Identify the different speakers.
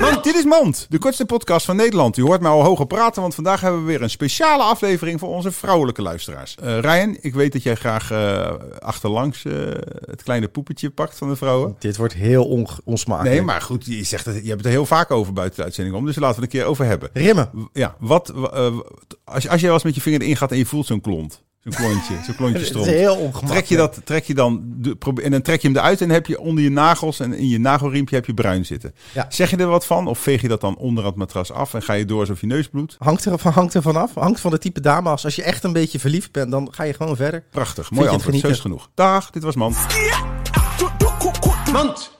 Speaker 1: Mand, dit is Mand, de kortste podcast van Nederland. U hoort mij al hoger praten, want vandaag hebben we weer een speciale aflevering voor onze vrouwelijke luisteraars. Eh Ryan, ik weet dat jij graag eh, achterlangs eh, het kleine poepetje pakt van de vrouwen.
Speaker 2: Dit wordt heel onge- onsmakelijk.
Speaker 1: Nee, maar goed, je, zegt het, je hebt het er heel vaak over buiten de uitzending om, dus laten we het een keer over hebben.
Speaker 2: Rimmen.
Speaker 1: Ja, wat, w- eh, wat- als, je- als je wel eens met je vinger erin gaat en je voelt zo'n klont, zo'n klontje, zo'n klontje
Speaker 2: Het is
Speaker 1: stront.
Speaker 2: heel ongemakkelijk.
Speaker 1: Trek je dat, trek je dan, de, probe- en dan trek je hem eruit en dan heb je onder je nagels en in je nagelriempje heb je bruin zitten.
Speaker 2: Ja.
Speaker 1: Zeg je er wat van of veeg je dat dan onder het matras af en ga je door alsof je neus bloedt?
Speaker 2: Hangt er, van- hangt er vanaf. Hangt van de type dame. Als, als je echt een beetje verliefd bent, dan ga je gewoon verder.
Speaker 1: Prachtig,
Speaker 2: Vind
Speaker 1: mooi
Speaker 2: je het
Speaker 1: antwoord, zo is het genoeg. Dag, dit was Man.